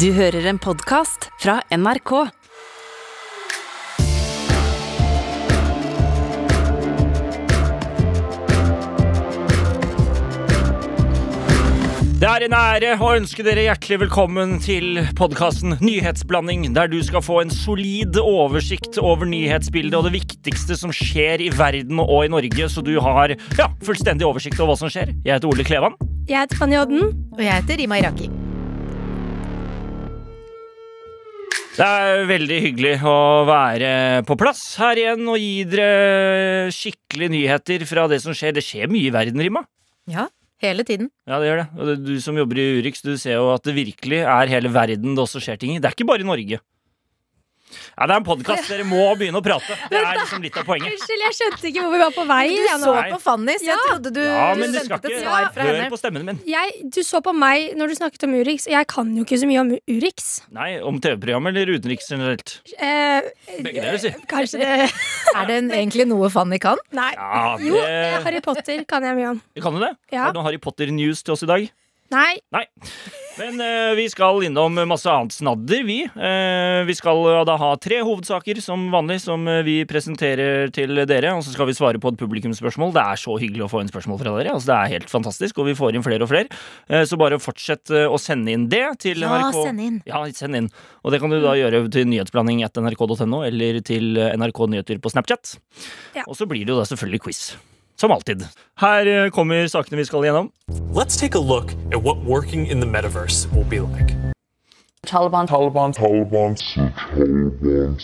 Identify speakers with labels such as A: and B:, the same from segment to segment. A: Du hører en podkast fra NRK.
B: Det er en ære å ønske dere hjertelig velkommen til podkasten Nyhetsblanding, der du skal få en solid oversikt over nyhetsbildet og det viktigste som skjer i verden og i Norge, så du har ja, fullstendig oversikt over hva som skjer. Jeg heter Ole Klevan.
C: Jeg heter Fanny Odden.
D: Og jeg heter Rima Iraki.
B: Det er veldig hyggelig å være på plass her igjen og gi dere skikkelige nyheter fra det som skjer. Det skjer mye i verden, Rima.
D: Ja, hele tiden.
B: Ja, det gjør det. Og det- du som jobber i Urix, du ser jo at det virkelig er hele verden det også skjer ting i. Det er ikke bare i Norge. Ja, det er en podkast. Dere må begynne å prate. Det er liksom litt av poenget.
C: Unnskyld, jeg skjønte ikke hvor vi var på vei.
D: Du
C: igjen.
D: så
B: Nei.
D: på Fanny, så jeg trodde du,
B: Ja, men
D: du
B: du skal
D: ventet et
B: ikke
D: svar fra
B: høre
D: henne.
B: på stemmen min.
C: Jeg, du så på meg når du snakket om Urix, og jeg kan jo ikke så mye om Urix.
B: Nei, om TV-program eller utenriks generelt.
C: Eh,
B: Begge deler, si.
C: kanskje det
D: Er det en, egentlig noe Fanny kan?
C: Nei.
B: Ja, det-
C: Jo, eh, Harry Potter kan jeg mye om.
B: Kan du det?
C: Ja.
B: Har du noe Harry Potter-news til oss i dag?
C: Nei.
B: Nei. Men eh, vi skal innom masse annet snadder, vi. Eh, vi skal eh, da ha tre hovedsaker som vanlig som eh, vi presenterer til dere. Og så skal vi svare på et publikumsspørsmål. Det er så hyggelig å få inn spørsmål fra dere. Altså, det er helt fantastisk, og vi får inn flere og flere. Eh, så bare fortsett eh, å sende inn det til NRK.
D: inn.
B: Ja, send inn. Og det kan du da gjøre til nyhetsblanding.nrk.no eller til eh, NRK Nyheter på Snapchat.
C: Ja.
B: Og så blir det jo da selvfølgelig quiz. Som alltid. Her eh, kommer sakene vi skal igjennom.
E: Let's take a look at what working in the metaverse will be like.
F: Taliban. Taliban. Taliban. Taliban.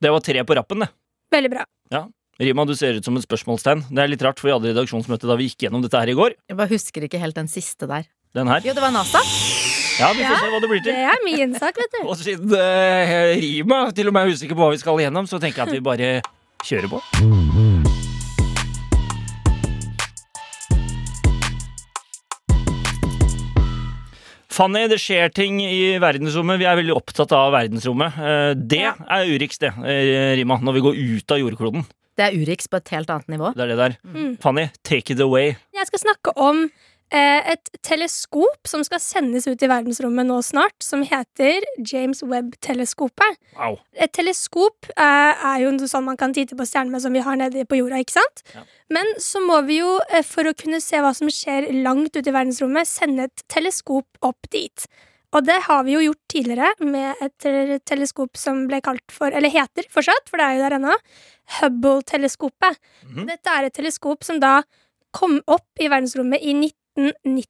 B: Det var tre på rappen, det.
C: Veldig bra.
B: Rima, du ser ut som et spørsmålstegn. Det er litt rart, for vi hadde redaksjonsmøte da vi gikk gjennom dette her i går.
D: Jeg bare husker ikke helt den siste der.
B: Den her.
D: Jo, det var NASA.
B: Ja, vi får se hva det blir til.
C: Det er min sak, vet du.
B: Og siden eh, Rima til og med er usikker på hva vi skal igjennom, så tenker jeg at vi bare kjører på. Fanny, det skjer ting i verdensrommet. Vi er veldig opptatt av verdensrommet. Eh, Det
C: Ja.
B: er Urix, det, eh, Rima, når vi går ut av jordkloden.
D: Det er Urix på et helt annet nivå.
B: Det er det der. Fanny, take it away.
C: Jeg skal snakke om eh, et teleskop som skal sendes ut i verdensrommet nå snart, som heter James Webb-teleskopet.
B: Au.
C: Et teleskop eh, er jo noe sånn man kan titte på stjerner med som vi har nede på jorda, ikke sant?
B: Ja.
C: Men så må vi jo, eh, for å kunne se hva som skjer langt ute i verdensrommet, sende et teleskop opp dit. Og det har vi jo gjort tidligere med et tel- teleskop som ble kalt for, eller heter fortsatt, for det er jo der ennå, Hubble-teleskopet.
B: Mhm.
C: Dette er et teleskop som da kom opp i verdensrommet i 1990,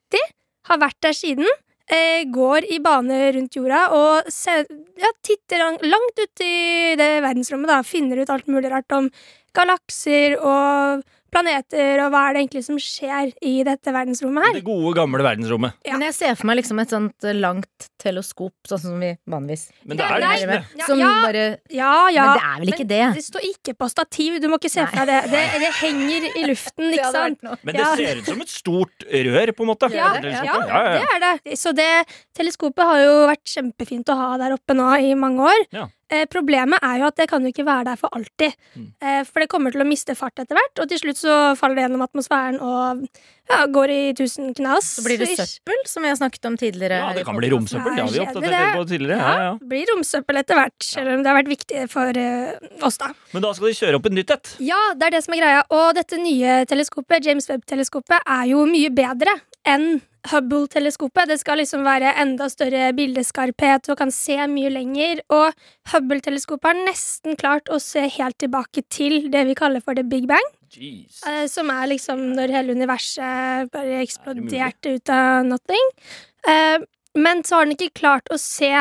C: har vært der siden, eh, går i bane rundt jorda og se- ja, titter lang- langt ut i det verdensrommet. Da, finner ut alt mulig rart om galakser og planeter og hva er det egentlig som skjer i dette verdensrommet her.
B: Det gode, gamle verdensrommet.
C: Ja.
D: Men jeg ser for meg liksom et sånt eh, langt teleskop, sånn som vi vanligvis
B: Men det
C: Ja,
B: er jo
C: nei,
B: ikke det.
D: driver med.
C: Ja,
D: Som
C: ja.
D: bare
C: Ja, ja.
D: Men det er vel ikke det?
C: Det står ikke på stativ. Du må ikke se for deg det. Det, det henger i luften, ikke sant?
B: Men det
C: Ja.
B: ser ut som et stort rør, på en måte.
C: Ja,
B: Det er
C: ja,
B: liksom-
C: det er det. Så det teleskopet har jo vært kjempefint å ha der oppe nå i mange år.
B: Ja.
C: Eh, problemet er jo at det kan jo ikke være der for alltid.
B: Mm.
C: Eh, for det kommer til å miste fart etter hvert, og til slutt så faller det gjennom atmosfæren og ja, går i tusen knas.
D: Så blir det
C: Ish.
D: søppel, som jeg snakket om tidligere.
B: Ja,
D: her i
B: det kan bli
D: podcasten.
B: romsøppel. Det har vi
C: Nei,
B: oppdatert
C: kjedelig,
B: på tidligere. Ja,
C: Ja,
B: ja.
C: det blir romsøppel etter hvert, selv om det har vært viktig for eh, oss, da.
B: Men da skal de kjøre opp et nytt et.
C: Ja, det er det som er greia. Og dette nye teleskopet, James Webb-teleskopet, er jo mye bedre enn Hubble-teleskopet. Det skal liksom være enda større bildeskarphet og kan se mye lenger. Og Hubble-teleskopet har nesten klart å se helt tilbake til det vi kaller for the big bang.
B: Jeez.
C: Eh, som er liksom når hele universet bare eksploderte
B: mulig?
C: ut av nothing. Eh, men så har den ikke klart å se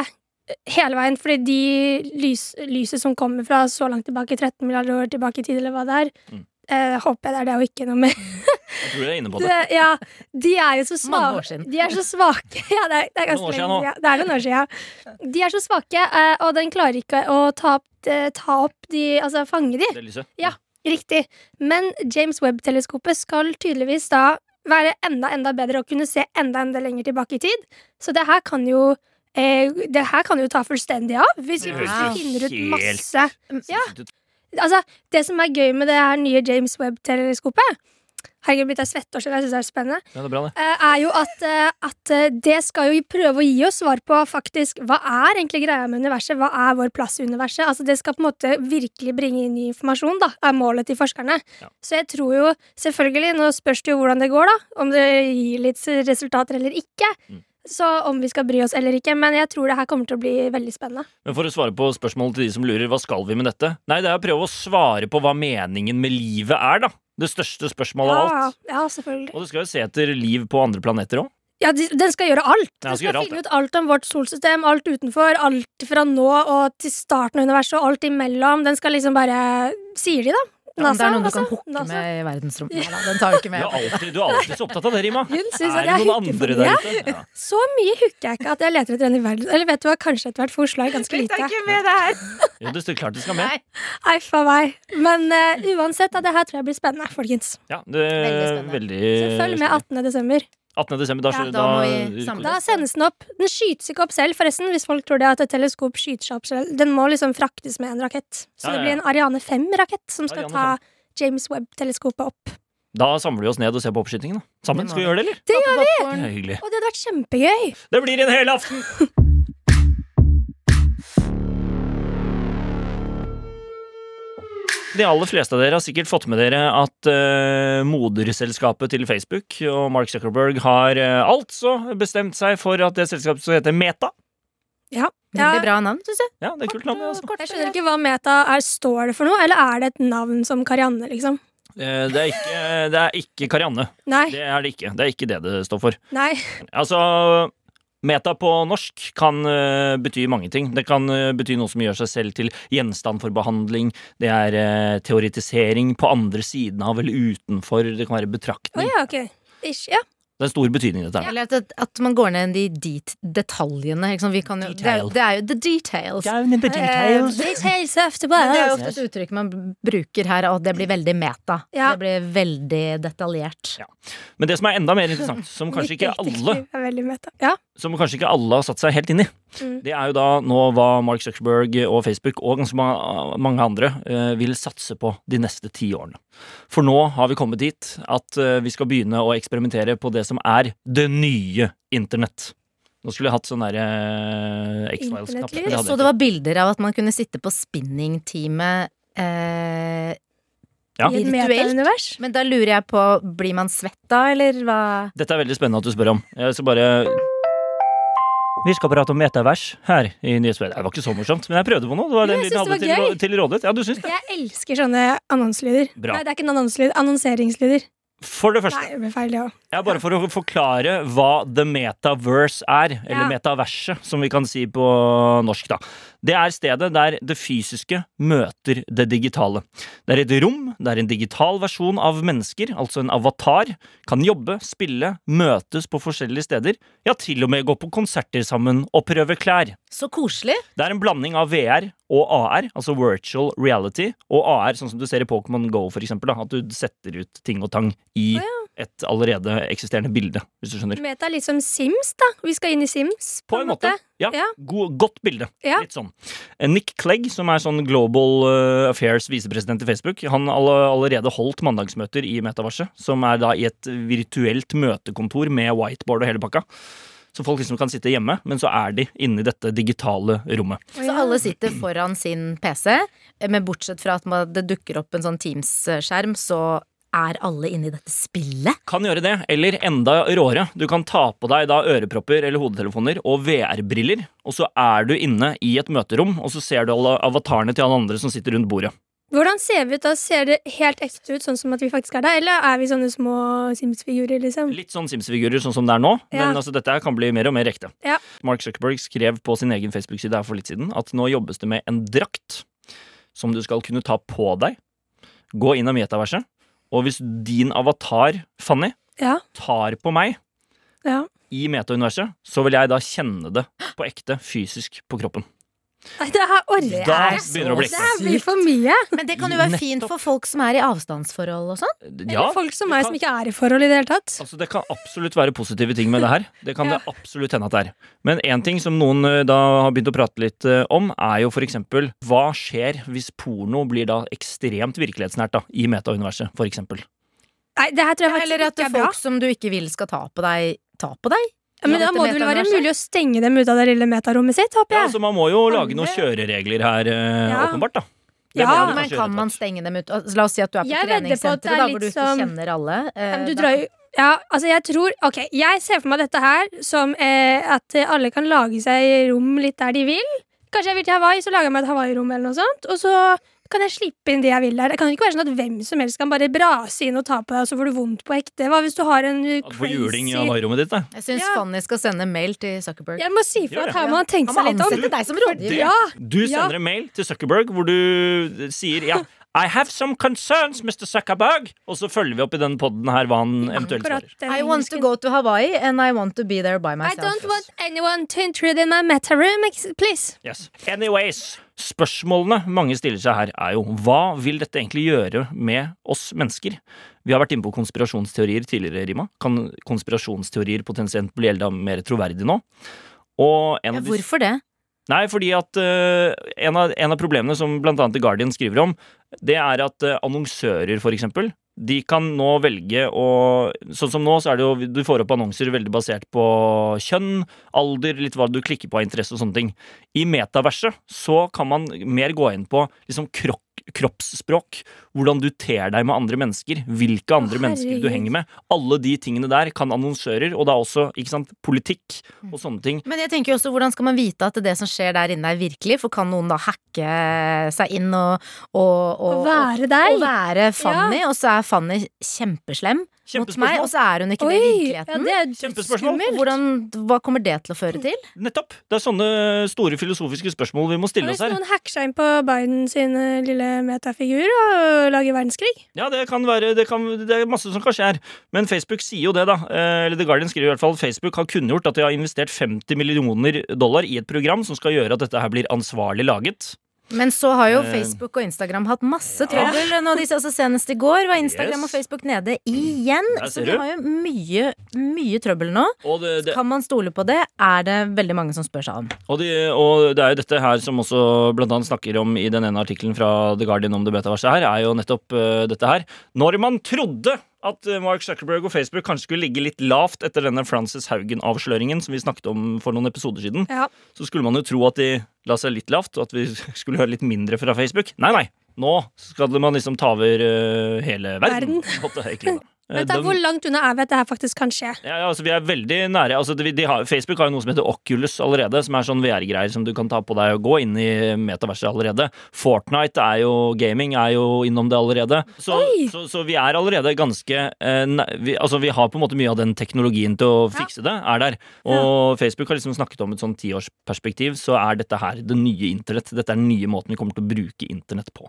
C: hele veien, fordi de lys, lyset som kommer fra så langt tilbake, 13 milliarder år tilbake i tid, eller hva det er,
B: Mm.
C: eh, håper jeg det er det og ikke noe mer.
B: Jeg tror jeg er inne på det.
C: Det, ja, de er jo så
D: Mange
C: svake.
D: år siden.
C: De er så svake. Ja, det er, det er ganske
B: Noen år siden
C: lenge
B: nå.
C: siden. Det er noen år siden. De er så svake, eh, og den klarer ikke å ta opp, eh, ta opp de, altså fange de.
B: Det lyset.
C: Ja. Riktig. Men James Webb-teleskopet skal tydeligvis da være enda enda bedre og kunne se enda enda lenger tilbake i tid. Så det her kan jo eh, det her kan jo ta fullstendig av, hvis vi
B: Det
C: plutselig
D: høres
B: jo
C: finner ut
B: helt
C: masse
B: sinnssykt ut.
C: Altså, Det som er gøy med det her nye James Webb-teleskopet, herregud, blitt jeg svetter selv, jeg synes det er spennende.
B: Ja, det er bra, det.
C: eh, er jo at, eh, at eh, det skal jo prøve å gi oss svar på faktisk hva er egentlig greia med universet, hva er vår plass i universet. Altså Det skal på en måte virkelig bringe inn ny informasjon, da, er målet til forskerne.
B: Ja.
C: Så jeg tror jo selvfølgelig, nå spørs det jo hvordan det går, da, om det gir litt resultater eller ikke.
B: Mm.
C: Så om vi skal bry oss eller ikke, men jeg tror det her kommer til å bli veldig spennende.
B: Men for å svare på spørsmålet til de som lurer, hva skal vi med dette? Nei, det er å prøve å svare på hva meningen med livet er, da. Det største spørsmålet av
C: ja,
B: alt.
C: ja, selvfølgelig.
B: Og du skal jo se etter liv på andre planeter òg.
C: Ja, de, den skal gjøre alt.
B: Den
C: Den
B: skal
C: skal
B: gjøre alt,
C: finne ut alt om vårt solsystem, alt utenfor, alt fra nå og til starten av universet og alt imellom. Den skal liksom bare Sier de, da?
D: Ja, men det er noen du
C: altså,
D: kan hooke
C: NASA.
D: med i verdensrommet. Nei da, Den tar du ikke
B: Du,
D: med.
B: er alltid- du er alltid så opptatt av det, Rima.
C: Hun synes
B: Er
C: at
B: det
C: jeg
B: noen
C: hooker
B: andre
C: for mye.
B: der ute? Ja.
C: Så mye hooker jeg ikke at jeg leter etter en i verden. Eller vet du hva, kanskje etter hvert forslag er ganske lite.
D: ikke med det her!
B: Jo, det er klart det skal med.
C: Nei, faen meg. Men eh, uansett, da, det her tror jeg blir spennende, folkens.
B: Ja, det er
D: Veldig spennende.
B: veldig
C: Så følg
B: Eh,
C: med 18. desember.
B: 18. desember. Da,
C: Ja,
B: skjø-
D: da må vi samle
C: Da sendes den opp. Den skytes ikke opp selv, forresten, hvis folk tror det at et teleskop skyter seg opp selv. Den må liksom fraktes med en rakett. Så
B: Ja, ja,
C: det blir en Ariane 5-rakett som skal
B: Ariane
C: ta James Webb-teleskopet opp.
B: Da samler vi oss ned og ser på oppskytingen. Da. Sammen.
D: Det
B: Skal
D: må
B: vi gjøre det, eller?
D: Det gjør
B: Det
D: vi!
B: er hyggelig.
C: Og det hadde vært kjempegøy!
B: Det blir en hel aften! De aller fleste av dere har sikkert fått med dere at eh, moderselskapet til Facebook og Mark Zuckerberg har eh, altså bestemt seg for at det selskapet som heter Meta
C: Ja. ja.
D: Veldig bra navn, syns jeg.
B: Ja, det er kult navn, det, altså.
C: Jeg skjønner ikke hva meta er. Står det for noe, eller er det et navn som Karianne, liksom?
B: Eh, det er ikke, det er ikke Karianne.
C: Nei.
B: Det er det ikke. Det er ikke det det står for.
C: Nei.
B: Altså, meta på norsk kan eh, bety mange ting. Det kan eh, bety noe som gjør seg selv til gjenstand for behandling. Det er eh, teoretisering på andre siden av eller utenfor. Det kan være
C: Å
B: betraktning.
C: ja, ok. Ish, ja.
B: Det er stor betydning, dette her.
D: Eller at, at man går ned i de det- detaljene. Ikke sant? Vi kan jo, det, er, jo- det er jo the details. Eh,
C: Eh,
D: details.
C: Details after
D: Men Det er jo
C: blast.
D: ofte et uttrykk man bruker her, og det blir veldig meta.
C: Ja.
D: Det blir veldig detaljert.
B: Men det som er enda mer interessant, som kanskje ikke
C: Mitt
B: alle
C: detektiv er veldig meta. Ja.
B: som kanskje ikke alle har satt seg helt inn i.
C: Mm.
B: Det er jo da nå hva Mark Zuckerberg og Facebook og ganske ma- mange andre eh, vil satse på de neste ti årene. For nå har vi kommet dit at eh, vi skal begynne å eksperimentere på det som er det nye internett. Nå skulle jeg hatt sånn derre X-Files-knapp.
C: Internettlyd?
B: men det hadde
D: Jeg så
B: jeg
D: det
B: ikke.
D: var bilder av at man kunne sitte på spinningteamet eh,
B: Ja.
C: I et
D: virtuelt.
C: metaunivers.
D: Men da lurer jeg på, blir man svett da, eller hva?
B: Dette er veldig spennende at du spør om. Jeg skal bare vi skal prate om metavers her i Nyhetsbrevet. Det var ikke så morsomt, men jeg prøvde på noe. Det var
C: Jo,
B: den
C: jeg
B: lyden jeg
C: synes
B: hadde
C: det var
B: til, til rådighet. Ja, du syns det?
C: Jeg elsker sånne annonselyder.
B: Bra.
C: Nei, det er ikke en annonselyd. Annonseringslyder.
B: For det første.
C: Nei, det ble feil, det òg.
B: Ja, bare for å forklare hva the metaverse er, eller
C: Ja.
B: metaverset, som vi kan si på norsk, da. Det er stedet der det fysiske møter det digitale. Det er et rom der en digital versjon av mennesker, altså en avatar, kan jobbe, spille, møtes på forskjellige steder, ja, til og med gå på konserter sammen og prøve klær.
D: Så koselig.
B: Det er en blanding av VR og AR, altså virtual reality, og AR, sånn som du ser i Pokémon Go, for eksempel, da, at du setter ut ting og tang i
C: Å,
B: et allerede eksisterende bilde, hvis du skjønner.
C: Meta er litt som Sims, da. Vi skal inn i Sims.
B: På en måte. Ja,
C: Ja.
B: God, godt bilde.
C: Ja.
B: Litt sånn. Eh, Nick Clegg, som er sånn Global eh, Affairs visepresident i Facebook, han har alle- allerede holdt mandagsmøter i metaverset, som er da i et virtuelt møtekontor med whiteboard og hele pakka. Så folk liksom kan sitte hjemme, men så er de inne i dette digitale rommet.
D: Så alle sitter foran sin PC, eh, men bortsett fra at man- det dukker opp en sånn Teams-skjerm, så er alle inne i dette spillet.
B: Kan gjøre det, eller enda råere, du kan ta på deg da ørepropper eller hodetelefoner og VR-briller, og så er du inne i et møterom, og så ser du alle avatarene til alle andre som sitter rundt bordet.
C: Hvordan ser vi ut da? Ser det helt ekte ut, sånn som at vi faktisk er der, eller er vi sånne små Sims-figurer, liksom?
B: Litt sånn Sims-figurer sånn som det er nå,
C: Ja.
B: men altså, dette her kan bli mer og mer ekte.
C: Ja.
B: Mark Zuckerberg skrev på sin egen Facebook-side her for litt siden at nå jobbes det med en drakt som du skal kunne ta på deg, gå inn av metaverset, og hvis din avatar, Fanny,
C: Ja.
B: tar på meg
C: ja.
B: i metauniverset, så vil jeg da kjenne det på ekte, fysisk, på kroppen.
C: Nei, det her orker
D: Det
C: jeg
B: Da
D: er
C: ikke.
D: så
B: begynner det å bli
C: Det
B: ekte.
C: her blir for mye.
D: Men det kan jo være fint
B: Nettopp.
D: for folk som er i avstandsforhold og sånn.
B: Ja,
C: Eller folk som
B: det
C: meg
B: kan-
C: som ikke er i forhold i det hele tatt.
B: Altså, det kan absolutt være positive ting med det her. Det kan
C: Ja.
B: det absolutt hende at det er. Men én ting som noen eh, da har begynt å prate litt eh, om, er jo for eksempel hva skjer hvis porno blir da ekstremt virkelighetsnært da, i metauniverset, for eksempel.
C: Nei, det her tror jeg
D: Eller
C: faktisk
D: at
C: ikke er bra.
D: folk som du ikke vil skal ta på deg, ta på deg.
C: Ja, men da må det vel være
D: sånn.
C: mulig å stenge dem ut av det lille metarommet sitt, håper
B: Ja,
C: jeg.
B: altså Man må jo lage noen
D: Alle-
B: kjøreregler her, eh,
C: Ja.
B: åpenbart. da Det
C: Ja,
B: må vi
D: men
B: kanskje
D: kan
B: gjøre
D: man
B: etter hvert.
D: stenge dem ut? Altså, La oss si at du er på
C: Jeg vedder på at det
D: treningssenteret,
C: er
D: da,
C: litt
D: hvor du ikke
C: som-
D: kjenner alle.
C: Ja, men
D: Eh,
C: du
D: da-
C: drar jo ja, altså jeg tror Ok, jeg ser for meg dette her som eh, at alle kan lage seg rom litt der de vil. Kanskje jeg vil til Hawaii, så lager jeg meg et Hawaii-rom eller noe sånt. Og så kan jeg slippe inn det jeg vil der. Det kan ikke være sånn at hvem som helst kan bare brase inn og ta på deg, og så får du vondt på ekte. Hva hvis du har en uh,
B: At du får juling i
C: crazy
B: Hawaii-rommet ditt. da
D: Jeg syns
C: Ja.
D: Fanny skal sende mail til Zuckerberg.
C: Jeg må si
B: Gjør
C: fra
B: det.
C: at her må han tenke
D: Han må
C: seg litt om.
D: ansette deg som rådgiver.
C: Ja,
B: Du
C: Ja.
B: sender en mail til Zuckerberg hvor du eh, sier ja, I have some concerns, Mr. Zuckerberg. Og så følger vi opp i den podden her hva han eventuelt
C: akkurat
B: svarer.
C: den
D: I want to
C: engelsken.
D: go to Hawaii, and I want to be there by
C: I
D: myself.
C: don't want anyone to intrude in my meta room, ex- please.
B: Yes. Anyways, spørsmålene mange stiller seg her, er jo hva vil dette egentlig gjøre med oss mennesker? Vi har vært inne på konspirasjonsteorier tidligere, Rima. Kan konspirasjonsteorier potensielt bli enda mer troverdige nå? Og en
D: Ja,
B: av de
D: Hvorfor det?
B: Nei, fordi at eh, en, av, en av problemene som blant annet The Guardian skriver om, det er at eh, annonsører, for eksempel, de kan nå velge å Sånn som nå, så er det jo Du får opp annonser veldig basert på kjønn, alder, litt hva du klikker på av interesse og sånne ting. I metaverset så kan man mer gå inn på liksom krok, kroppsspråk. Hvordan du ter deg med andre mennesker. Hvilke andre mennesker du
C: herregud.
B: henger med. Alle de tingene der kan annonsører, og da også ikke sant, politikk og sånne ting.
D: Men jeg tenker jo også, hvordan skal man vite at det som skjer der inne, er virkelig? For kan noen da hacke seg inn og og-
C: Å
D: og-
C: være
D: og
C: deg.
D: være Fanny, og så er Fanny kjempeslem mot meg,
B: Kjempespørsmål.
D: og så er hun ikke det i
C: Oi, ja,
D: virkeligheten.
C: det er
B: Kjempespørsmål.
C: skummelt.
D: Hvordan, hva kommer det til å føre til?
B: Nettopp. Det er sånne store filosofiske spørsmål vi må
C: Hva
B: stille
C: Hvis
B: oss her.
C: noen hacker seg inn på Biden sin eh, lille metafigur og lager verdenskrig?
B: Ja, det kan være det, kan, det er masse som kan skje her. Men Facebook sier jo det, da. Eh, Eller The Guardian skriver i hvert fall Facebook har kunngjort at de har investert 50 millioner dollar i et program som skal gjøre at dette her blir ansvarlig laget.
D: Men så har jo
B: Eh.
D: Facebook og Instagram hatt masse trøbbel. Nå disse, altså senest i går var Instagram
B: Yes.
D: og Facebook nede igjen.
B: Der
D: Så
B: ser
D: de
B: du.
D: har jo mye, mye trøbbel nå.
B: Og det, det,
D: Kan man stole på det? Er det veldig mange som spør seg om.
B: og, de, og det er jo dette her som også blant annet snakker om i den ene artikkelen fra The Guardian om det betaverset her, er jo nettopp eh, dette her. Når man trodde at eh, Mark Zuckerberg og Facebook kanskje skulle ligge litt lavt etter denne Frances Haugen-avsløringen som vi snakket om for noen episoder siden,
C: Ja.
B: så skulle man jo tro at de la seg litt lavt, og at vi skulle høre litt mindre fra Facebook. Nei, nei. Nå skal man liksom ta over eh, hele verden. At det er ikke det, da. Eh,
C: Vent da,
B: dem-
C: Hvor langt unna er vi at det her faktisk kan skje?
B: ja, ja, altså vi er veldig nære altså de, de har, Facebook har jo noe som heter Oculus allerede, som er sånn VR-greier som du kan ta på deg og gå inn i metaverset allerede. Fortnite er jo gaming, er jo innom det allerede. Så,
C: Oi!
B: så, så vi er allerede ganske eh, næ- vi, Altså vi har på en måte mye av den teknologien til å fikse det, er der. Og Facebook har liksom snakket om et sånn tiårsperspektiv, så er dette her det nye internett. Dette er den nye måten vi kommer til å bruke internett på.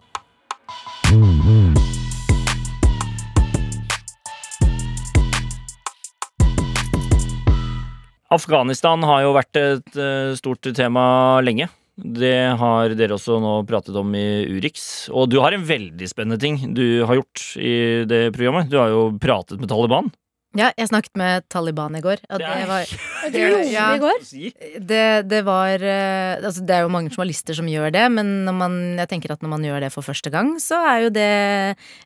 B: Afghanistan har jo vært et eh, stort tema lenge. Det har dere også nå pratet om i Urix. Og du har en veldig spennende ting du har gjort i det programmet. Du har jo pratet med Taliban.
D: Ja, jeg snakket med Taliban i går. Og
B: Det
D: det,
B: er-
D: var,
C: Du gjorde det
D: Ja.
C: i går.
D: det, det var eh, Altså, det er jo mange journalister som gjør det, men når man, jeg tenker at når man gjør det for første gang, så er jo det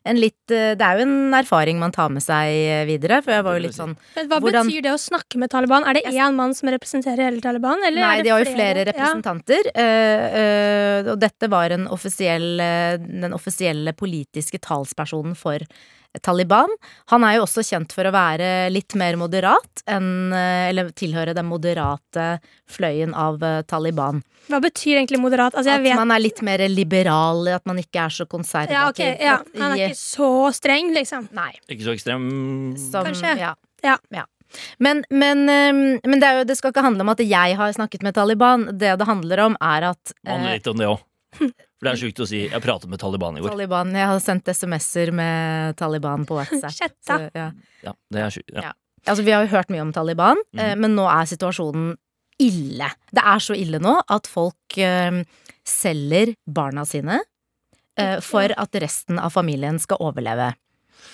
D: en litt eh, Det er jo en erfaring man tar med seg eh, videre, for jeg var jo litt sånn
C: Men hva
D: Hvordan-
C: betyr det å snakke med Taliban? Er det én mann som representerer hele Taliban? Eller er
D: Nei,
C: det
D: de har jo flere
C: Ja.
D: representanter. eh, eh, og dette var en offisiell, eh, den offisielle politiske talspersonen for Taliban. Han er jo også kjent for å være litt mer moderat enn eh, Eller tilhøre den moderate fløyen av eh, Taliban.
C: Hva betyr egentlig moderat? Altså, jeg
D: At
C: vet
D: man er litt mer liberal, at man ikke er så konservativ.
C: ja, ok, ja.
D: At
C: Han er
D: i-
C: ikke så streng, liksom.
D: Nei.
B: Ikke så ekstrem
D: Som,
C: Kanskje.
D: Ja.
C: Ja.
D: Men, men, eh, men det, er jo, det skal ikke handle om at jeg har snakket med Taliban. Det det handler om, er at
B: Det handler
D: eh,
B: litt om det òg. For det er sjukt å si. Jeg pratet med Taliban i går.
D: Taliban. Jeg har sendt SMS-er med Taliban på WhatsApp.
C: Chatta.
D: Så, ja.
B: Ja, det er sjukt. Ja.
D: Ja. Altså, vi har jo hørt mye om Taliban, eh, men nå er situasjonen ille. Det er så ille nå at folk eh, selger barna sine eh, for at resten av familien skal overleve.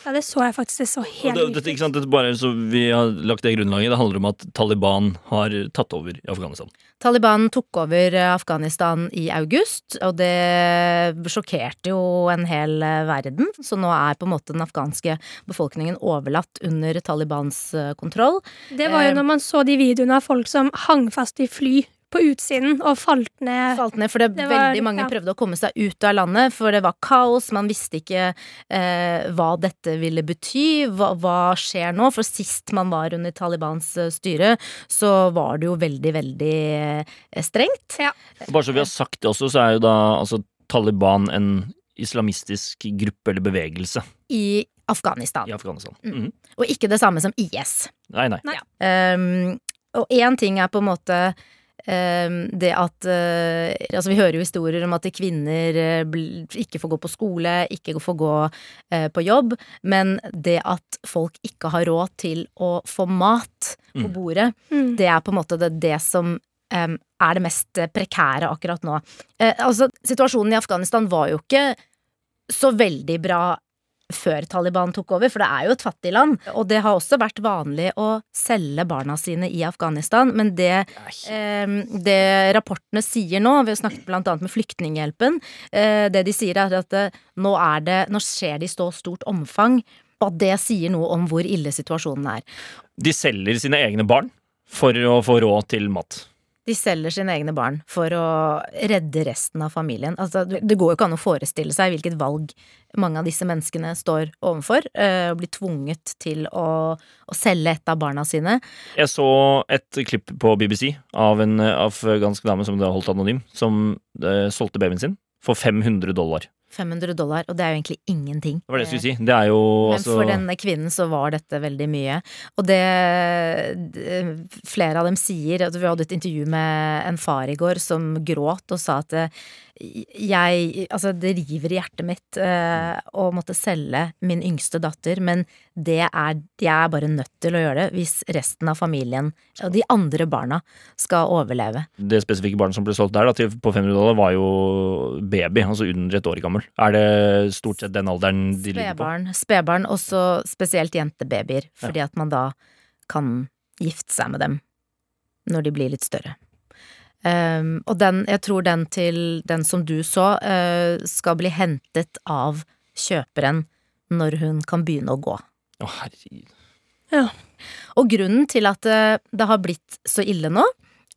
C: Ja, det så jeg faktisk. Det så
B: Og
C: helt
B: det,
C: vilt
B: dette, ikke
C: ut.
B: sant? Dette bare så vi har lagt det grunnlaget. Det handler om at Taliban har tatt over i Afghanistan.
D: Taliban tok over eh, Afghanistan i august, og det sjokkerte jo en hel eh, verden. Så nå er på en måte den afghanske befolkningen overlatt under Talibans eh, kontroll.
C: Det var
D: Eh,
C: jo når man så de videoene av folk som hang fast i fly på utsiden og falt ned.
D: Falt ned, for det,
C: Eh, Det var-
D: veldig mange
C: ja.
D: prøvde å komme seg ut av landet, for det var kaos. Man visste ikke eh, hva dette ville bety. Hva, hva skjer nå? For sist man var under Talibans eh, styre, så var det jo veldig, veldig eh, strengt.
C: Ja.
B: Bare så vi har sagt det også, så er jo da altså, Taliban en islamistisk gruppe eller bevegelse
D: I Afghanistan.
B: i Afghanistan.
D: Mm.
B: Mhm.
D: Og ikke det samme som IS.
B: Nei, nei.
D: Um, og én ting er på en måte um, det at uh, Altså, vi hører jo historier om at kvinner uh, bl- ikke får gå på skole, ikke får gå uh, på jobb, men det at folk ikke har råd til å få mat på
B: Mm.
D: bordet,
C: Mm.
D: det er på en måte det, det som um, er det mest prekære akkurat nå. Eh, altså, situasjonen i Afghanistan var jo ikke så veldig bra før Taliban tok over, for det er jo et fattig land. Og det har også vært vanlig å selge barna sine i Afghanistan, men det, eh, det rapportene sier nå, vi har snakket blant annet med Flyktninghjelpen, eh, det de sier er at eh, nå, er det, nå skjer det i så stort omfang, og at det sier noe om hvor ille situasjonen er.
B: De selger sine egne barn for å få råd til mat.
D: De selger sine egne barn for å redde resten av familien. Altså, det det går jo ikke an å forestille seg hvilket valg mange av disse menneskene står overfor. eh, Og blir tvunget til å, å selge et av barna sine.
B: Jeg så et klipp på BBC av en eh, afghansk dame som det har holdt anonym, som eh, solgte babyen sin for 500 dollar.
D: 500 dollar, og det er jo egentlig ingenting.
B: Det var det jeg skulle si. Det er jo
D: Men
B: altså
D: for denne kvinnen så var dette veldig mye. Og det det- flere av dem sier at Vi hadde et intervju med en far i går som gråt og sa at eh, jeg Altså, det river i hjertet mitt eh, å måtte selge min yngste datter, men det er Jeg er bare nødt til å gjøre det hvis resten av familien og de andre barna skal overleve.
B: det spesifikke barnet som ble solgt der da, til, på 500 dollar, var jo baby, altså under et år gammel. Er det stort sett den alderen de ligger på?
D: Spedbarn, spedbarn og så spesielt jentebabyer, fordi at man da kan gifte seg med dem når de blir litt større. Ehm, og den, jeg tror den til den som du så, eh, skal bli hentet av kjøperen når hun kan begynne å gå.
B: Å, herregud.
D: Og grunnen til at eh, det har blitt så ille nå,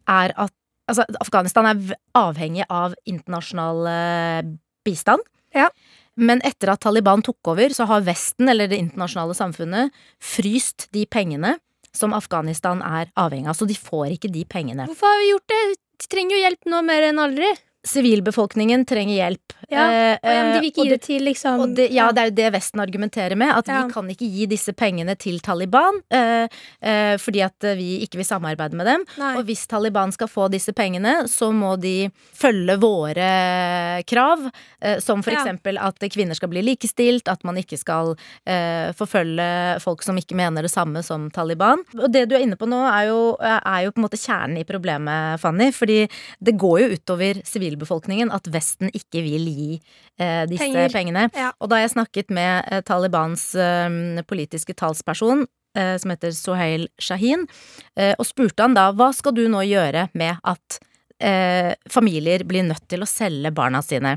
D: er at altså, Afghanistan er v- avhengig av internasjonal eh, bistand.
C: Ja.
D: Men etter at Taliban tok over, så har Vesten, eller det internasjonale samfunnet, fryst de pengene som Afghanistan er avhengig av. Så de får ikke de pengene.
C: Hvorfor har vi gjort det? De trenger jo hjelp nå mer enn aldri.
D: Sivilbefolkningen trenger hjelp.
C: Ja,
D: Eh,
C: Og ja, men de vil
D: og
C: ikke gi det til liksom
D: Og det, ja, det er jo det Vesten argumenterer med, at
C: Ja.
D: vi kan ikke gi disse pengene til Taliban eh, eh, fordi at eh, vi ikke vil samarbeide med dem.
C: Nei.
D: Og hvis Taliban skal få disse pengene, så må de følge våre krav, eh, som for
C: Ja.
D: eksempel at kvinner skal bli likestilt, at man ikke skal eh, forfølge folk som ikke mener det samme som Taliban. Og det du er inne på nå, er jo, er jo på en måte kjernen i problemet, Fanny, fordi det går jo utover sivilbefolkningen at Vesten ikke vil gi eh, disse
C: Penger.
D: pengene.
C: Ja.
D: Og da jeg snakket med eh, Talibans eh, politiske talsperson, eh, som heter Sohail Shahin, eh, og spurte han da hva skal du nå gjøre med at eh, familier blir nødt til å selge barna sine.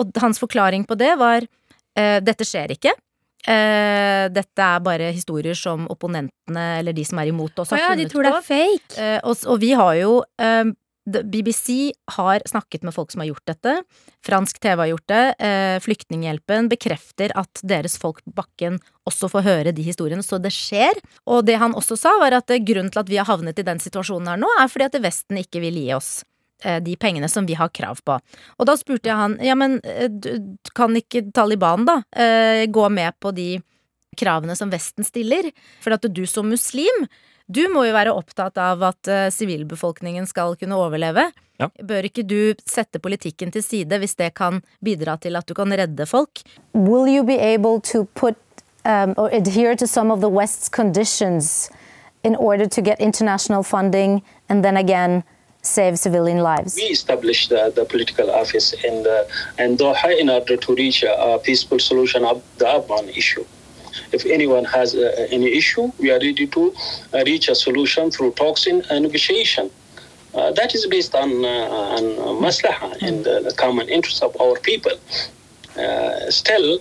D: Og hans forklaring på det var eh, dette skjer ikke. Eh, dette er bare historier som opponentene eller de som er imot oss,
C: Å
D: har
C: ja, de
D: funnet
C: tror det
D: på.
C: er fake.
D: Eh, og, s- og vi har jo eh, d- BBC har snakket med folk som har gjort dette. Fransk TV har gjort det. Eh, Flyktninghjelpen bekrefter at deres folk på bakken også får høre de historiene, så det skjer. Og det han også sa, var at eh, grunnen til at vi har havnet i den situasjonen her nå, er fordi at Vesten ikke vil gi oss eh, de pengene som vi har krav på. Og da spurte jeg han, ja, men eh, du- kan ikke Taliban da eh, gå med på de kravene som Vesten stiller? For at du som muslim, du må jo være opptatt av at eh, sivilbefolkningen skal kunne overleve.
B: Ja.
D: Bør ikke du sette politikken til side hvis det kan bidra til at du kan redde folk?
G: will you be able to put um, or adhere to some of the West's conditions in order to get international funding and then again save civilian lives?
H: we established the, the political office in the in Doha in order to reach a, a peaceful solution of the Afghan issue. If anyone has uh, any issue, we are ready to uh, reach a solution through talks and uh, negotiation. Uh, that is based on, uh, on uh, maslaha and uh, the common interests of our people. Uh, still,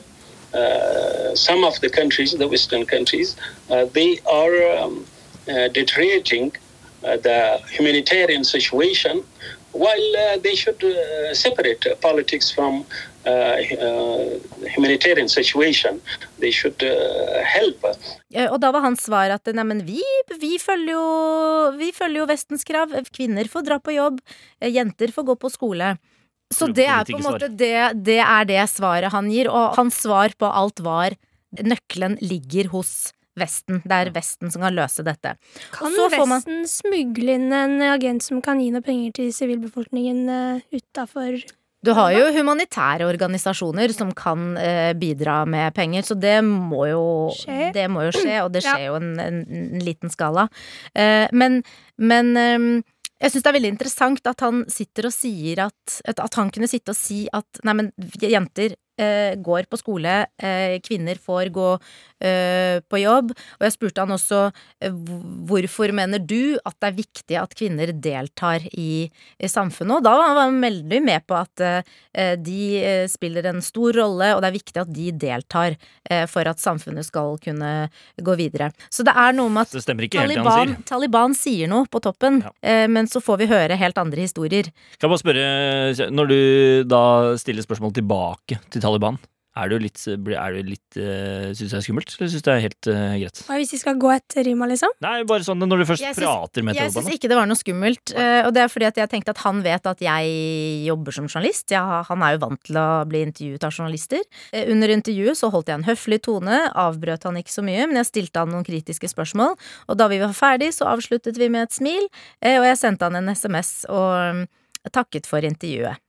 H: uh, some of the countries, the Western countries, uh, they are um, uh, deteriorating uh, the humanitarian situation while uh, they should uh, separate uh, politics from uh, uh, humanitarian situation. They should uh, help.
D: Eh, Og da var hans svar at nei, men vi, vi, følger jo, vi følger jo Vestens krav. Kvinner får dra på jobb, eh, jenter får gå på skole. Så
B: Tror
D: det er på en
B: politikersvar.
D: måte det, det er det svaret han gir. Og hans svar på alt var nøkkelen ligger hos Vesten. Det er Vesten som kan løse dette.
C: Kan
D: så får man-
C: Vesten smugle inn en agent som kan gi noe penger til sivilbefolkningen uh, utafor
D: Du har jo humanitære organisasjoner som kan eh, bidra med penger, så det må jo
C: Skje.
D: Det må jo skje, og det
C: Ja.
D: skjer jo en, en, en liten skala. Eh, men men ehm, jeg syns det er veldig interessant at han sitter og sier at At at han kunne sitte og si at nei, men jenter eh, går på skole, eh, kvinner får gå eh, på jobb. Og jeg spurte han også eh, hvor- hvorfor mener du at det er viktig at kvinner deltar i, i samfunnet. Og da var han veldig med på at eh, de eh, spiller en stor rolle, og det er viktig at de deltar eh, for at samfunnet skal kunne gå videre. Så det er noe med at
B: Det stemmer ikke helt, det han sier.
D: Taliban, Taliban sier noe på toppen,
B: Ja.
D: eh, men så får vi høre helt andre historier.
B: Kan jeg bare spørre, når du da stiller spørsmål tilbake til Taliban, er du litt, er du litt eh, Syns det er skummelt, eller syns det er helt eh, greit?
C: Hva Hvis de skal gå etter Rima, liksom?
B: Nei, bare sånn når du først
D: Jeg syns-
B: prater med
D: Jeg syns
B: Taliban. da.
D: ikke det var noe skummelt, eh, og det er fordi at jeg tenkte at han vet at jeg jobber som journalist. Jeg, har- han er jo vant til å bli intervjuet av journalister. Eh, Under intervjuet så holdt jeg en høflig tone, avbrøt han ikke så mye, men jeg stilte han noen kritiske spørsmål, og da vi var ferdig, så avsluttet vi med et smil, eh, og jeg sendte han en SMS og mm, takket for intervjuet.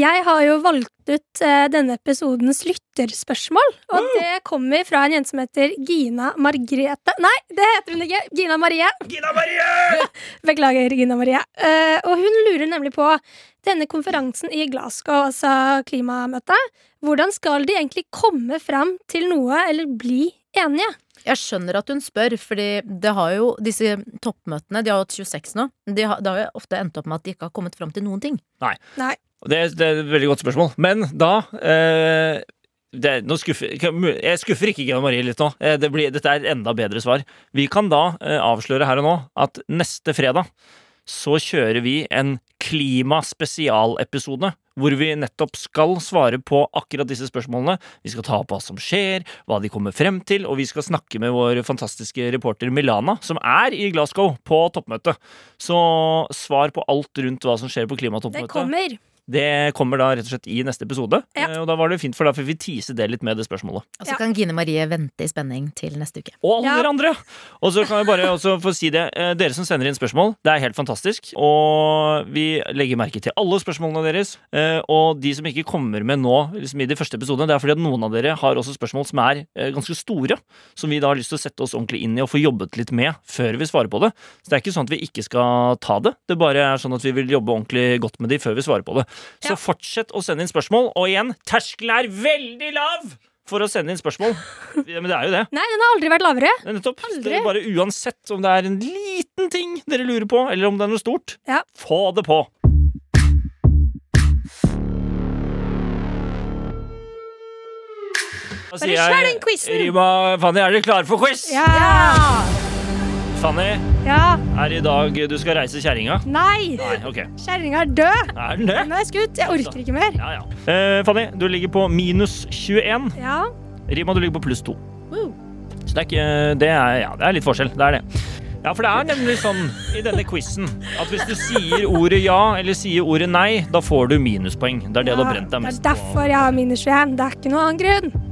C: Jeg har jo valgt ut eh, denne episodens lytterspørsmål. Og det kommer fra en jente som heter Gina Margrethe Nei, det heter hun ikke! Gina Marie.
B: Gina Marie!
C: Beklager, Gina Marie. Eh, og hun lurer nemlig på denne konferansen i Glasgow, altså klimamøtet. Hvordan skal de egentlig komme fram til noe, eller bli enige?
D: Jeg skjønner at hun spør, fordi det har jo disse toppmøtene, de har hatt 26 nå, de har, det har jo ofte endt opp med at de ikke har kommet fram til noen ting.
B: Det, det er et veldig godt spørsmål. Men da eh, det, nå skuffer, jeg skuffer ikke Gina Marie litt nå. Eh, Det blir, dette er et enda bedre svar. Vi kan da eh, avsløre her og nå at neste fredag så kjører vi en klimaspesialepisode. Hvor vi nettopp skal svare på akkurat disse spørsmålene. Vi skal ta opp hva som skjer, hva de kommer frem til, og vi skal snakke med vår fantastiske reporter Milana, som er i Glasgow på toppmøtet. Så svar på alt rundt hva som skjer på
C: Det
B: klimatoppmøtet.
C: kommer.
B: Det kommer da rett og slett i neste episode.
C: Ja.
B: Eh, Og da var det fint, for da fikk vi tease det litt med det spørsmålet.
D: Og så
C: Ja.
D: Altså, kan Gine Marie vente i spenning til neste uke.
B: Og alle
C: Ja.
B: dere andre! Og så kan jeg bare også få si det. eh, Dere som sender inn spørsmål, det er helt fantastisk. Og vi legger merke til alle spørsmålene deres. Eh, Og de som ikke kommer med nå liksom i de første episodene, det er fordi at noen av dere har også spørsmål som er eh, ganske store, som vi da har lyst til å sette oss ordentlig inn i og få jobbet litt med før vi svarer på det. Så det er ikke sånn at vi ikke skal ta det. Det bare er sånn at vi vil jobbe ordentlig godt med de før vi svarer på det. Så
C: Ja.
B: fortsett å sende inn spørsmål. Og igjen, terskelen er veldig lav! For å sende inn spørsmål. Ja, Men det er jo det.
C: Nei, den har aldri vært lavere.
B: Det er Nettopp. Så
C: Aldri.
B: det er bare uansett om det er en liten ting dere lurer på, eller om det er noe stort,
C: Ja.
B: få det på. Da sier
C: kjør
B: jeg,
C: den quizen!
B: Rima, Fanny, er dere klare for quiz?
C: Ja!
B: Fanny,
C: ja.
B: er det i dag du skal reise kjerringa?
C: Nei!
B: Nei, ok.
C: Kjerringa er død!
B: Er den det?
C: Nå er jeg skutt. Jeg orker ikke mer.
B: Ja, ja. Eh, Fanny, du ligger på minus 21.
C: Ja.
B: Rima, du ligger på pluss to. Så det er, ikke, det, er, ja, det er litt forskjell. Det er det. Ja, for det er nemlig sånn i denne quizen at hvis du sier ordet ja eller sier ordet nei, da får du minuspoeng. Det er det du har brent deg
C: det er
B: mest på.
C: derfor jeg har minus 21. Det er ikke noen annen grunn.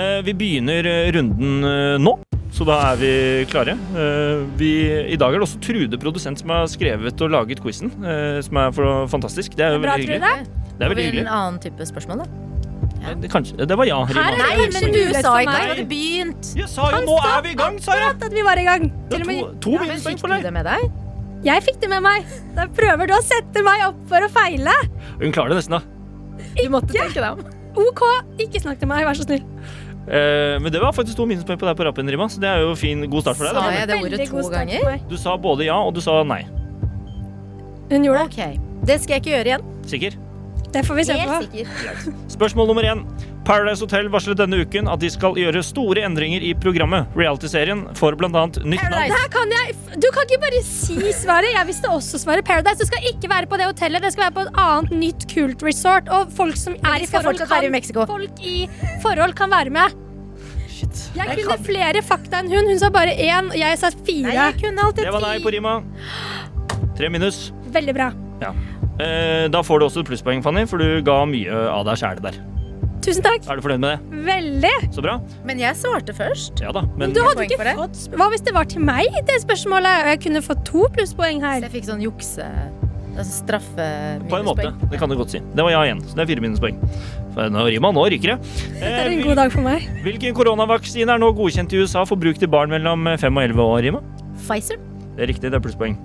B: Eh, Vi begynner eh, runden eh, nå, så da er vi klare. Eh, Vi, I dag er det også Trude produsent som har skrevet og laget quizen, eh, som er for fantastisk. Det er jo
C: Bra,
B: veldig
C: tror du
B: hyggelig.
C: det?
B: Det er
D: Har vi
B: veldig
D: En
B: hyggelig.
D: annen type spørsmål, da.
B: Eh, det- Kanskje, det var ja. Rima.
C: Her er det kanskje en mulighet for
D: at
C: meg.
D: du hadde begynt.
B: Jeg sa jo nå er vi i gang, sa jeg!
C: At vi var i gang.
B: Det
C: Til og
B: er
C: med
B: to, to
D: Men
B: minuspoeng
D: fikk
B: for
D: du
B: deg.
D: det med deg?
C: Jeg fikk det med meg. Da prøver du å sette meg opp for å feile.
B: Hun klarer det nesten, da.
D: Du måtte tenke deg om.
C: OK, ikke snakk til meg, vær så snill.
B: Eh, men det var faktisk to minuspoeng på deg på rappen, Rima, så det er jo fin, god start for deg.
D: Sa
B: da.
D: jeg det ordet
C: Veldig god
D: to
C: start
D: ganger?
C: for meg.
B: Du sa både ja og du sa nei.
C: Hun gjorde det.
D: Ok, Det skal jeg ikke gjøre igjen.
B: Sikker?
C: Det får vi se på.
D: sikker.
B: Spørsmål nummer én. Paradise Hotel varslet denne uken at de skal gjøre store endringer i programmet. Reality-serien får blant annet nytt navn.
D: Paradise.
C: Det her kan jeg Du kan ikke bare si svaret. Jeg visste også svaret Paradise. Det skal ikke være på det hotellet. Det skal være på et annet nytt kult resort. Og folk som er i
D: skal
C: forhold,
D: fortsatt
C: kan,
D: være i Mexico.
C: folk i forhold kan være med. Jeg kunne flere fakta enn hun. Hun sa bare én, og jeg sa
D: Nei,
C: fire.
D: jeg kunne alltid
B: Det var nei på Rima. Tre minus.
C: Veldig bra.
B: Eh, da får du også et plusspoeng, Fanny, for du ga mye av deg sjæl der.
C: Tusen takk.
B: Er du fornøyd med det?
C: Veldig.
B: Så bra.
D: Men jeg svarte først.
B: Ja da. Men
C: Du hadde
D: poeng
C: ikke
D: for det.
C: fått Hva hvis det var til meg, det spørsmålet? Og jeg kunne fått to plusspoeng
D: Så
C: her.
D: jeg fikk sånn jukse... Altså straffe...
B: på en måte. Det kan du godt si. Det var ja igjen, så det er fire minuspoeng. For Nå, Rima, nå ryker det.
C: Det
B: Eh,
C: er en
B: hvil-
C: god dag for meg.
B: hvilken koronavaksine er nå godkjent i USA for bruk til barn mellom 5 og 11 år, Rima?
D: Pfizer.
B: Det er riktig, det er plusspoeng.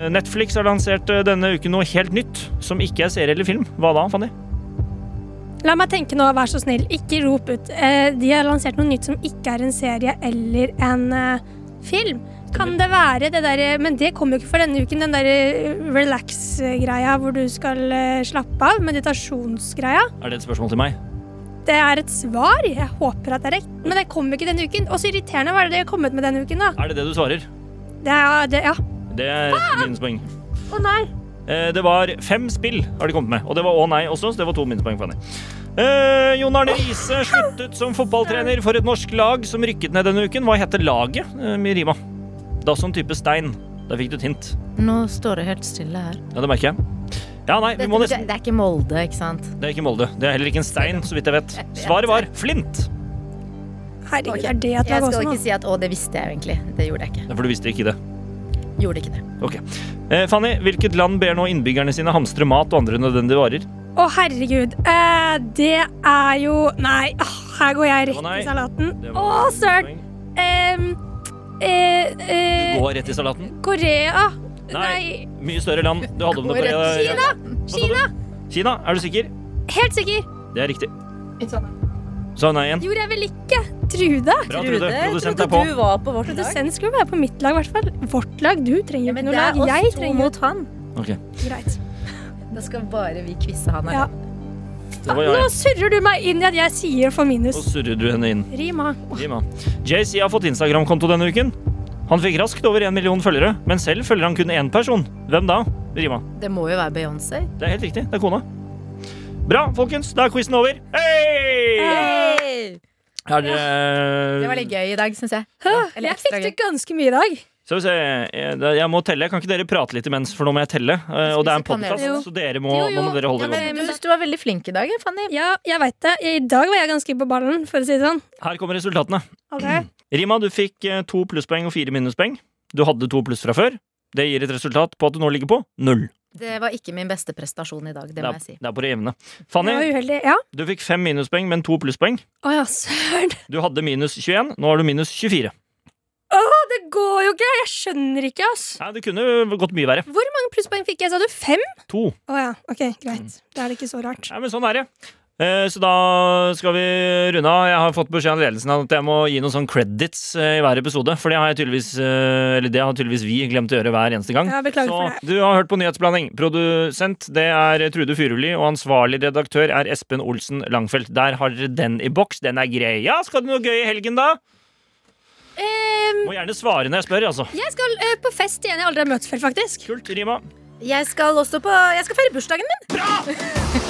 B: Eh, Netflix har lansert eh, denne uken noe helt nytt, som ikke er serie eller film. Hva da, Fanny?
C: La meg tenke nå, vær så snill. Ikke rop ut. Eh, De har lansert noe nytt som ikke er en serie eller en eh, film. Kan det være det derre Men det kommer jo ikke for denne uken, den derre relax-greia hvor du skal eh, slappe av. Meditasjonsgreia.
B: Er det et spørsmål til meg?
C: Det er et svar. Jeg håper at det er rett. Men det kommer ikke denne uken. Og så irriterende var det det har kommet med denne uken, da.
B: Er det det du svarer?
C: Det er, det, ja.
B: Det er ett minuspoeng.
C: Å nei.
B: Eh, Det var fem spill har de kommet med, og det var å nei også, så det var to minuspoeng. for henne. Eh, Jon Arne Riise sluttet som fotballtrener for et norsk lag som rykket ned denne uken. Hva heter laget, eh, Mirima? Da som type stein. Der fikk du et hint.
D: Nå står det helt stille her.
B: Ja, det merker jeg. Ja, nei, vi
D: Dette,
B: må
D: det,
B: nesten
D: det er ikke Molde, ikke sant?
B: Det er ikke Molde. Det er heller ikke en stein, så vidt jeg vet. Svaret var Flint.
C: Herregud,
D: Ok.
C: er det sånn? et
D: Jeg
C: lag
D: skal
C: også nå?
D: ikke si at 'å, det visste jeg jo egentlig'. Det gjorde jeg ikke.
B: Ja, For du visste ikke det.
D: Gjorde ikke det.
B: Ok. Eh, Fanny, hvilket land ber nå innbyggerne sine hamstre mat og andre nødvendige varer?
C: Å, herregud. Eh, det er jo Nei, ah, her går jeg
B: Det var
C: rett
B: nei.
C: i salaten.
B: Det
C: Å,
B: var-
C: søren. Em, eh, eh,
B: Gå rett i salaten.
C: Korea.
B: Nei.
C: Nei.
B: Mye større land. Du hadde om det på
C: Kina! Kina!
B: Kina, er du sikker?
C: Helt sikker.
B: Det er riktig. Sa hun nei igjen.
C: Gjorde jeg vel ikke? Trude?
B: Bra, Trude. Produsent er på.
D: du var på vårt
C: Produsent skulle være på mitt lag, i hvert fall. Vårt lag. Du trenger jo ikke
D: men
C: noe
D: det er
C: lag. Jeg
D: oss to
C: trenger
D: mot han.
B: Ok,
C: Greit.
D: Da skal bare vi quize han.
C: Ja.
D: her.
B: det var
C: Nå
B: jeg.
C: surrer du meg inn i at jeg sier for
B: Og
C: minus.
B: surrer du henne inn.
C: Rima.
B: Rima. JC har fått Instagram-konto denne uken. Han fikk raskt over en million følgere, men selv følger han kun én person. Hvem da? Rima.
D: Det må jo være Beyoncé.
B: Det er helt riktig. Det er kona. Bra, folkens. Da er quizen over. Hei! Er det
D: Det var litt gøy i dag, syns jeg.
C: Hæ?
D: Eller
C: Jeg
D: ekstra
C: fikk det
D: gøy.
C: ganske mye i dag.
B: Skal vi se. Jeg jeg må telle. Kan ikke dere prate litt imens, for nå må jeg telle. Eh, Og det er en
D: spiser kanel.
B: podkast,
C: Jo.
B: så dere må,
C: Jo, jo.
B: nå må dere holde
D: Ja,
B: dere godt.
D: Eh, men, du, du var veldig flink i dag, Fanny.
C: Ja, jeg veit det. I dag var jeg ganske på ballen, for å si det sånn.
B: Her kommer resultatene.
C: Ok,
B: Rima, du fikk eh, to plusspoeng og fire minuspoeng. Du hadde to pluss fra før. Det gir et resultat på at du nå ligger på null.
D: Det var ikke min beste prestasjon i dag, det må
B: er,
D: jeg si.
B: det er på det jevne.
C: Det var
B: Fanny,
C: uheldig. Ja.
B: du fikk fem minuspoeng, men to plusspoeng.
C: Å ja, søren.
B: Du hadde minus 21, nå har du minus 24.
C: Å, Det går jo ikke! Jeg skjønner ikke, ass.
B: Nei, det kunne jo gått mye verre.
C: Hvor mange plusspoeng fikk jeg? Sa du fem?
B: To.
C: Å ja, ok, greit.
B: Mm.
C: Da er det ikke så rart.
B: Nei, men sånn er det. Eh, Så da skal vi runde av. Jeg har fått beskjed av ledelsen at jeg må gi noen sånn credits eh, i hver episode. For det har jeg tydeligvis eh, Eller det har tydeligvis vi glemt å gjøre hver eneste gang.
C: Ja, beklager
B: Så
C: for det.
B: du har hørt på Nyhetsblanding. Produsent det er Trude Furuli, og ansvarlig redaktør er Espen Olsen Langfelt. Der har dere den i boks. Den er grei. Ja, skal du noe gøy i helgen, da?
C: Ehm,
B: Må gjerne svare når jeg spør, altså.
C: jeg skal eh, på fest igjen jeg aldri har møtt før, faktisk.
B: Kult, Rima.
D: Jeg skal også på Jeg skal feire bursdagen min!